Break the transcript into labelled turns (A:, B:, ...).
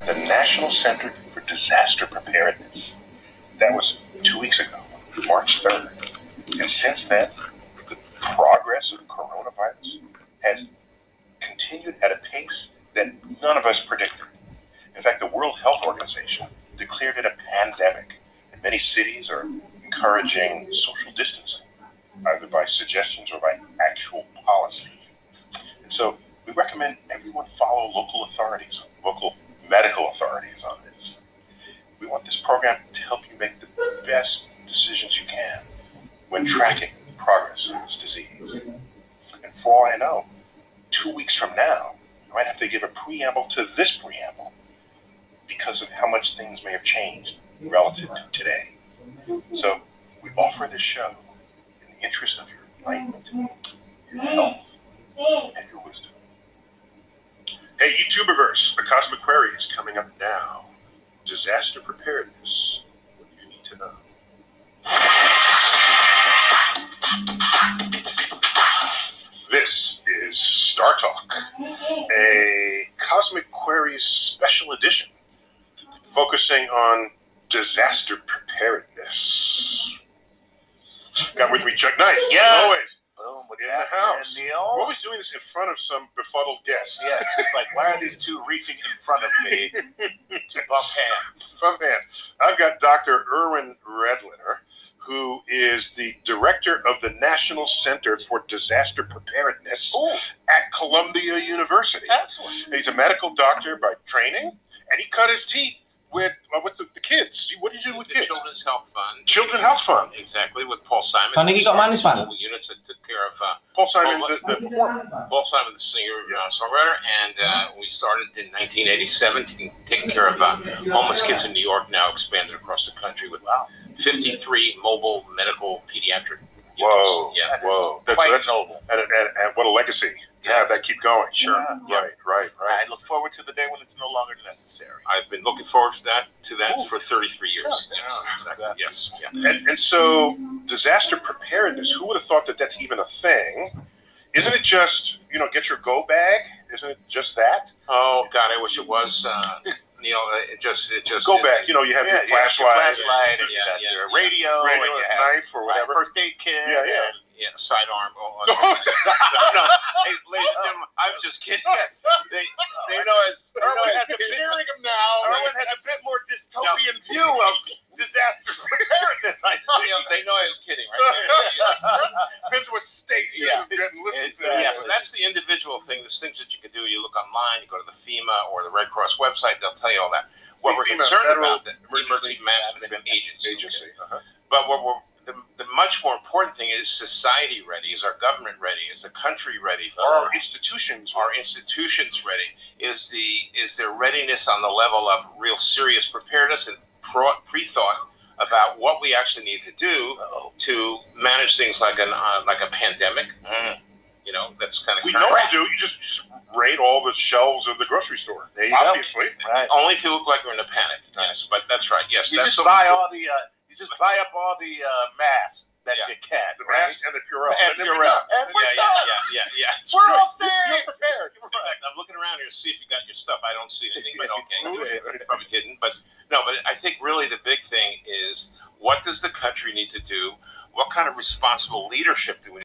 A: National Center for Disaster Preparedness. That was two weeks ago, March 3rd. And since then, the progress of coronavirus has continued at a pace that none of us predicted. In fact, the World Health Organization declared it a pandemic, and many cities are encouraging social distancing, either by suggestions or by actual policy. And so we recommend everyone follow local authorities, local medical authorities on this. We want this program to help you make the best decisions you can when tracking the progress of this disease. And for all I know, two weeks from now, you might have to give a preamble to this preamble because of how much things may have changed relative to today. So we offer this show in the interest of your enlightenment, your health, and your wisdom. Hey, YouTuberverse, the Cosmic Query is coming up now. Disaster preparedness, what you need to know. This is Star Talk, a Cosmic Queries special edition focusing on disaster preparedness. Got with me Chuck Nice.
B: Yes.
A: as always.
B: Boom, what's
A: In the
B: happening,
A: house.
B: Neil?
A: We're always doing this in front of some befuddled guest.
B: yes, it's like, why are these two reaching in front of me to bump hands?
A: From hand. I've got Dr. Erwin Redliner, who is the director of the National Center for Disaster Preparedness
B: Ooh,
A: at Columbia University.
B: excellent.
A: He's a medical doctor by training, and he cut his teeth with uh, with the, the kids. What did you do with
C: the
A: kids?
C: Children's Health Fund.
A: Children's Health Fund.
C: Exactly, with Paul Simon.
D: Carnegie got minus one.
C: Mobile Units that took care of uh,
A: Paul Simon,
C: Well,
A: the, the,
C: performer. Paul Simon, the singer, uh, songwriter, and uh, we started in 1987 taking, taking care of uh, homeless kids in New York. Now expanded across the country with 53 mobile medical pediatric. Units.
A: Whoa,
C: Yeah.
A: whoa. That's,
B: Quite
A: that's,
B: noble.
A: and, and, and what a legacy to have
C: Yes.
A: that keep going.
C: Sure. Yeah.
A: Right, right, right.
B: I look forward to the day when it's no longer necessary.
C: I've been looking forward to that to that
B: Ooh.
C: for 33 years.
B: Sure.
C: Yes.
B: Yeah,
C: Exactly. Yes. Yeah.
A: And, and so, disaster preparedness, who would have thought that that's even a thing? Isn't it just, you know, get your go bag? Isn't it just that?
C: Oh God, I wish it was uh, Neil. uh, It just it just
A: Go bag, you know, you have your
B: yeah, you have your
A: flashlight,
B: flashlight, and oh,
C: Yeah,
B: you got
C: yeah,
B: your
C: yeah.
B: radio,
A: radio,
B: and you have
A: knife, or
B: your
A: whatever.
B: first aid kit.
A: Yeah, yeah.
B: and-
C: Yeah, sidearm. Oh,
A: No,
C: oh, no, hey, ladies, never mind. I'm just kidding.
B: Yes.
C: They, they
B: I
C: know
B: see.
C: as they know
B: Erwin
C: as
B: has a hearing him now. Erwin has a bit more dystopian view of disaster preparedness. I
C: you
B: see.
C: know, they know I was kidding, right?
A: Depends what state you're
B: Yeah.
A: getting listened to.
C: yeah, so that's the individual thing. There's things that you can do. You look online, you go to the FEMA or the Red Cross website, they'll tell you all that. What we're
A: FEMA,
C: concerned
A: Federal
C: about, the Emergency Management Agency.
A: agency. Uh-huh.
C: But what we're, the, the much more important thing is society ready? Is our government ready? Is the country ready? for
B: Uh-huh.
A: Our institutions are
C: are institutions ready? Is the is their readiness on the level of real serious preparedness and pro, pre-thought about what we actually need to do to manage things like an uh, like a pandemic? You know, that's kind of
A: We know what to do. You just, you just raid all the shelves of the grocery store.
B: There you go.
A: Obviously,
B: Right.
C: only if you look like you're in a panic. Yes, but that's right. Yes,
B: You
C: that's
B: just
C: so-
B: buy all the. Uh, you just buy up all the uh, masks that
C: Yeah.
B: you can.
A: the
B: right?
A: mask and the Purell.
C: And
A: then
C: you're
A: we
C: out.
A: know.
B: And we're
C: yeah, yeah,
B: done.
C: yeah, yeah, yeah. It's
B: We're
C: right.
B: all staying prepared.
C: In fact, I'm looking around here to see if you got your stuff. I don't see anything, but okay.
A: Right.
C: You're probably kidding, but no. But I think really the big thing is what does the country need to do? What kind of responsible leadership do we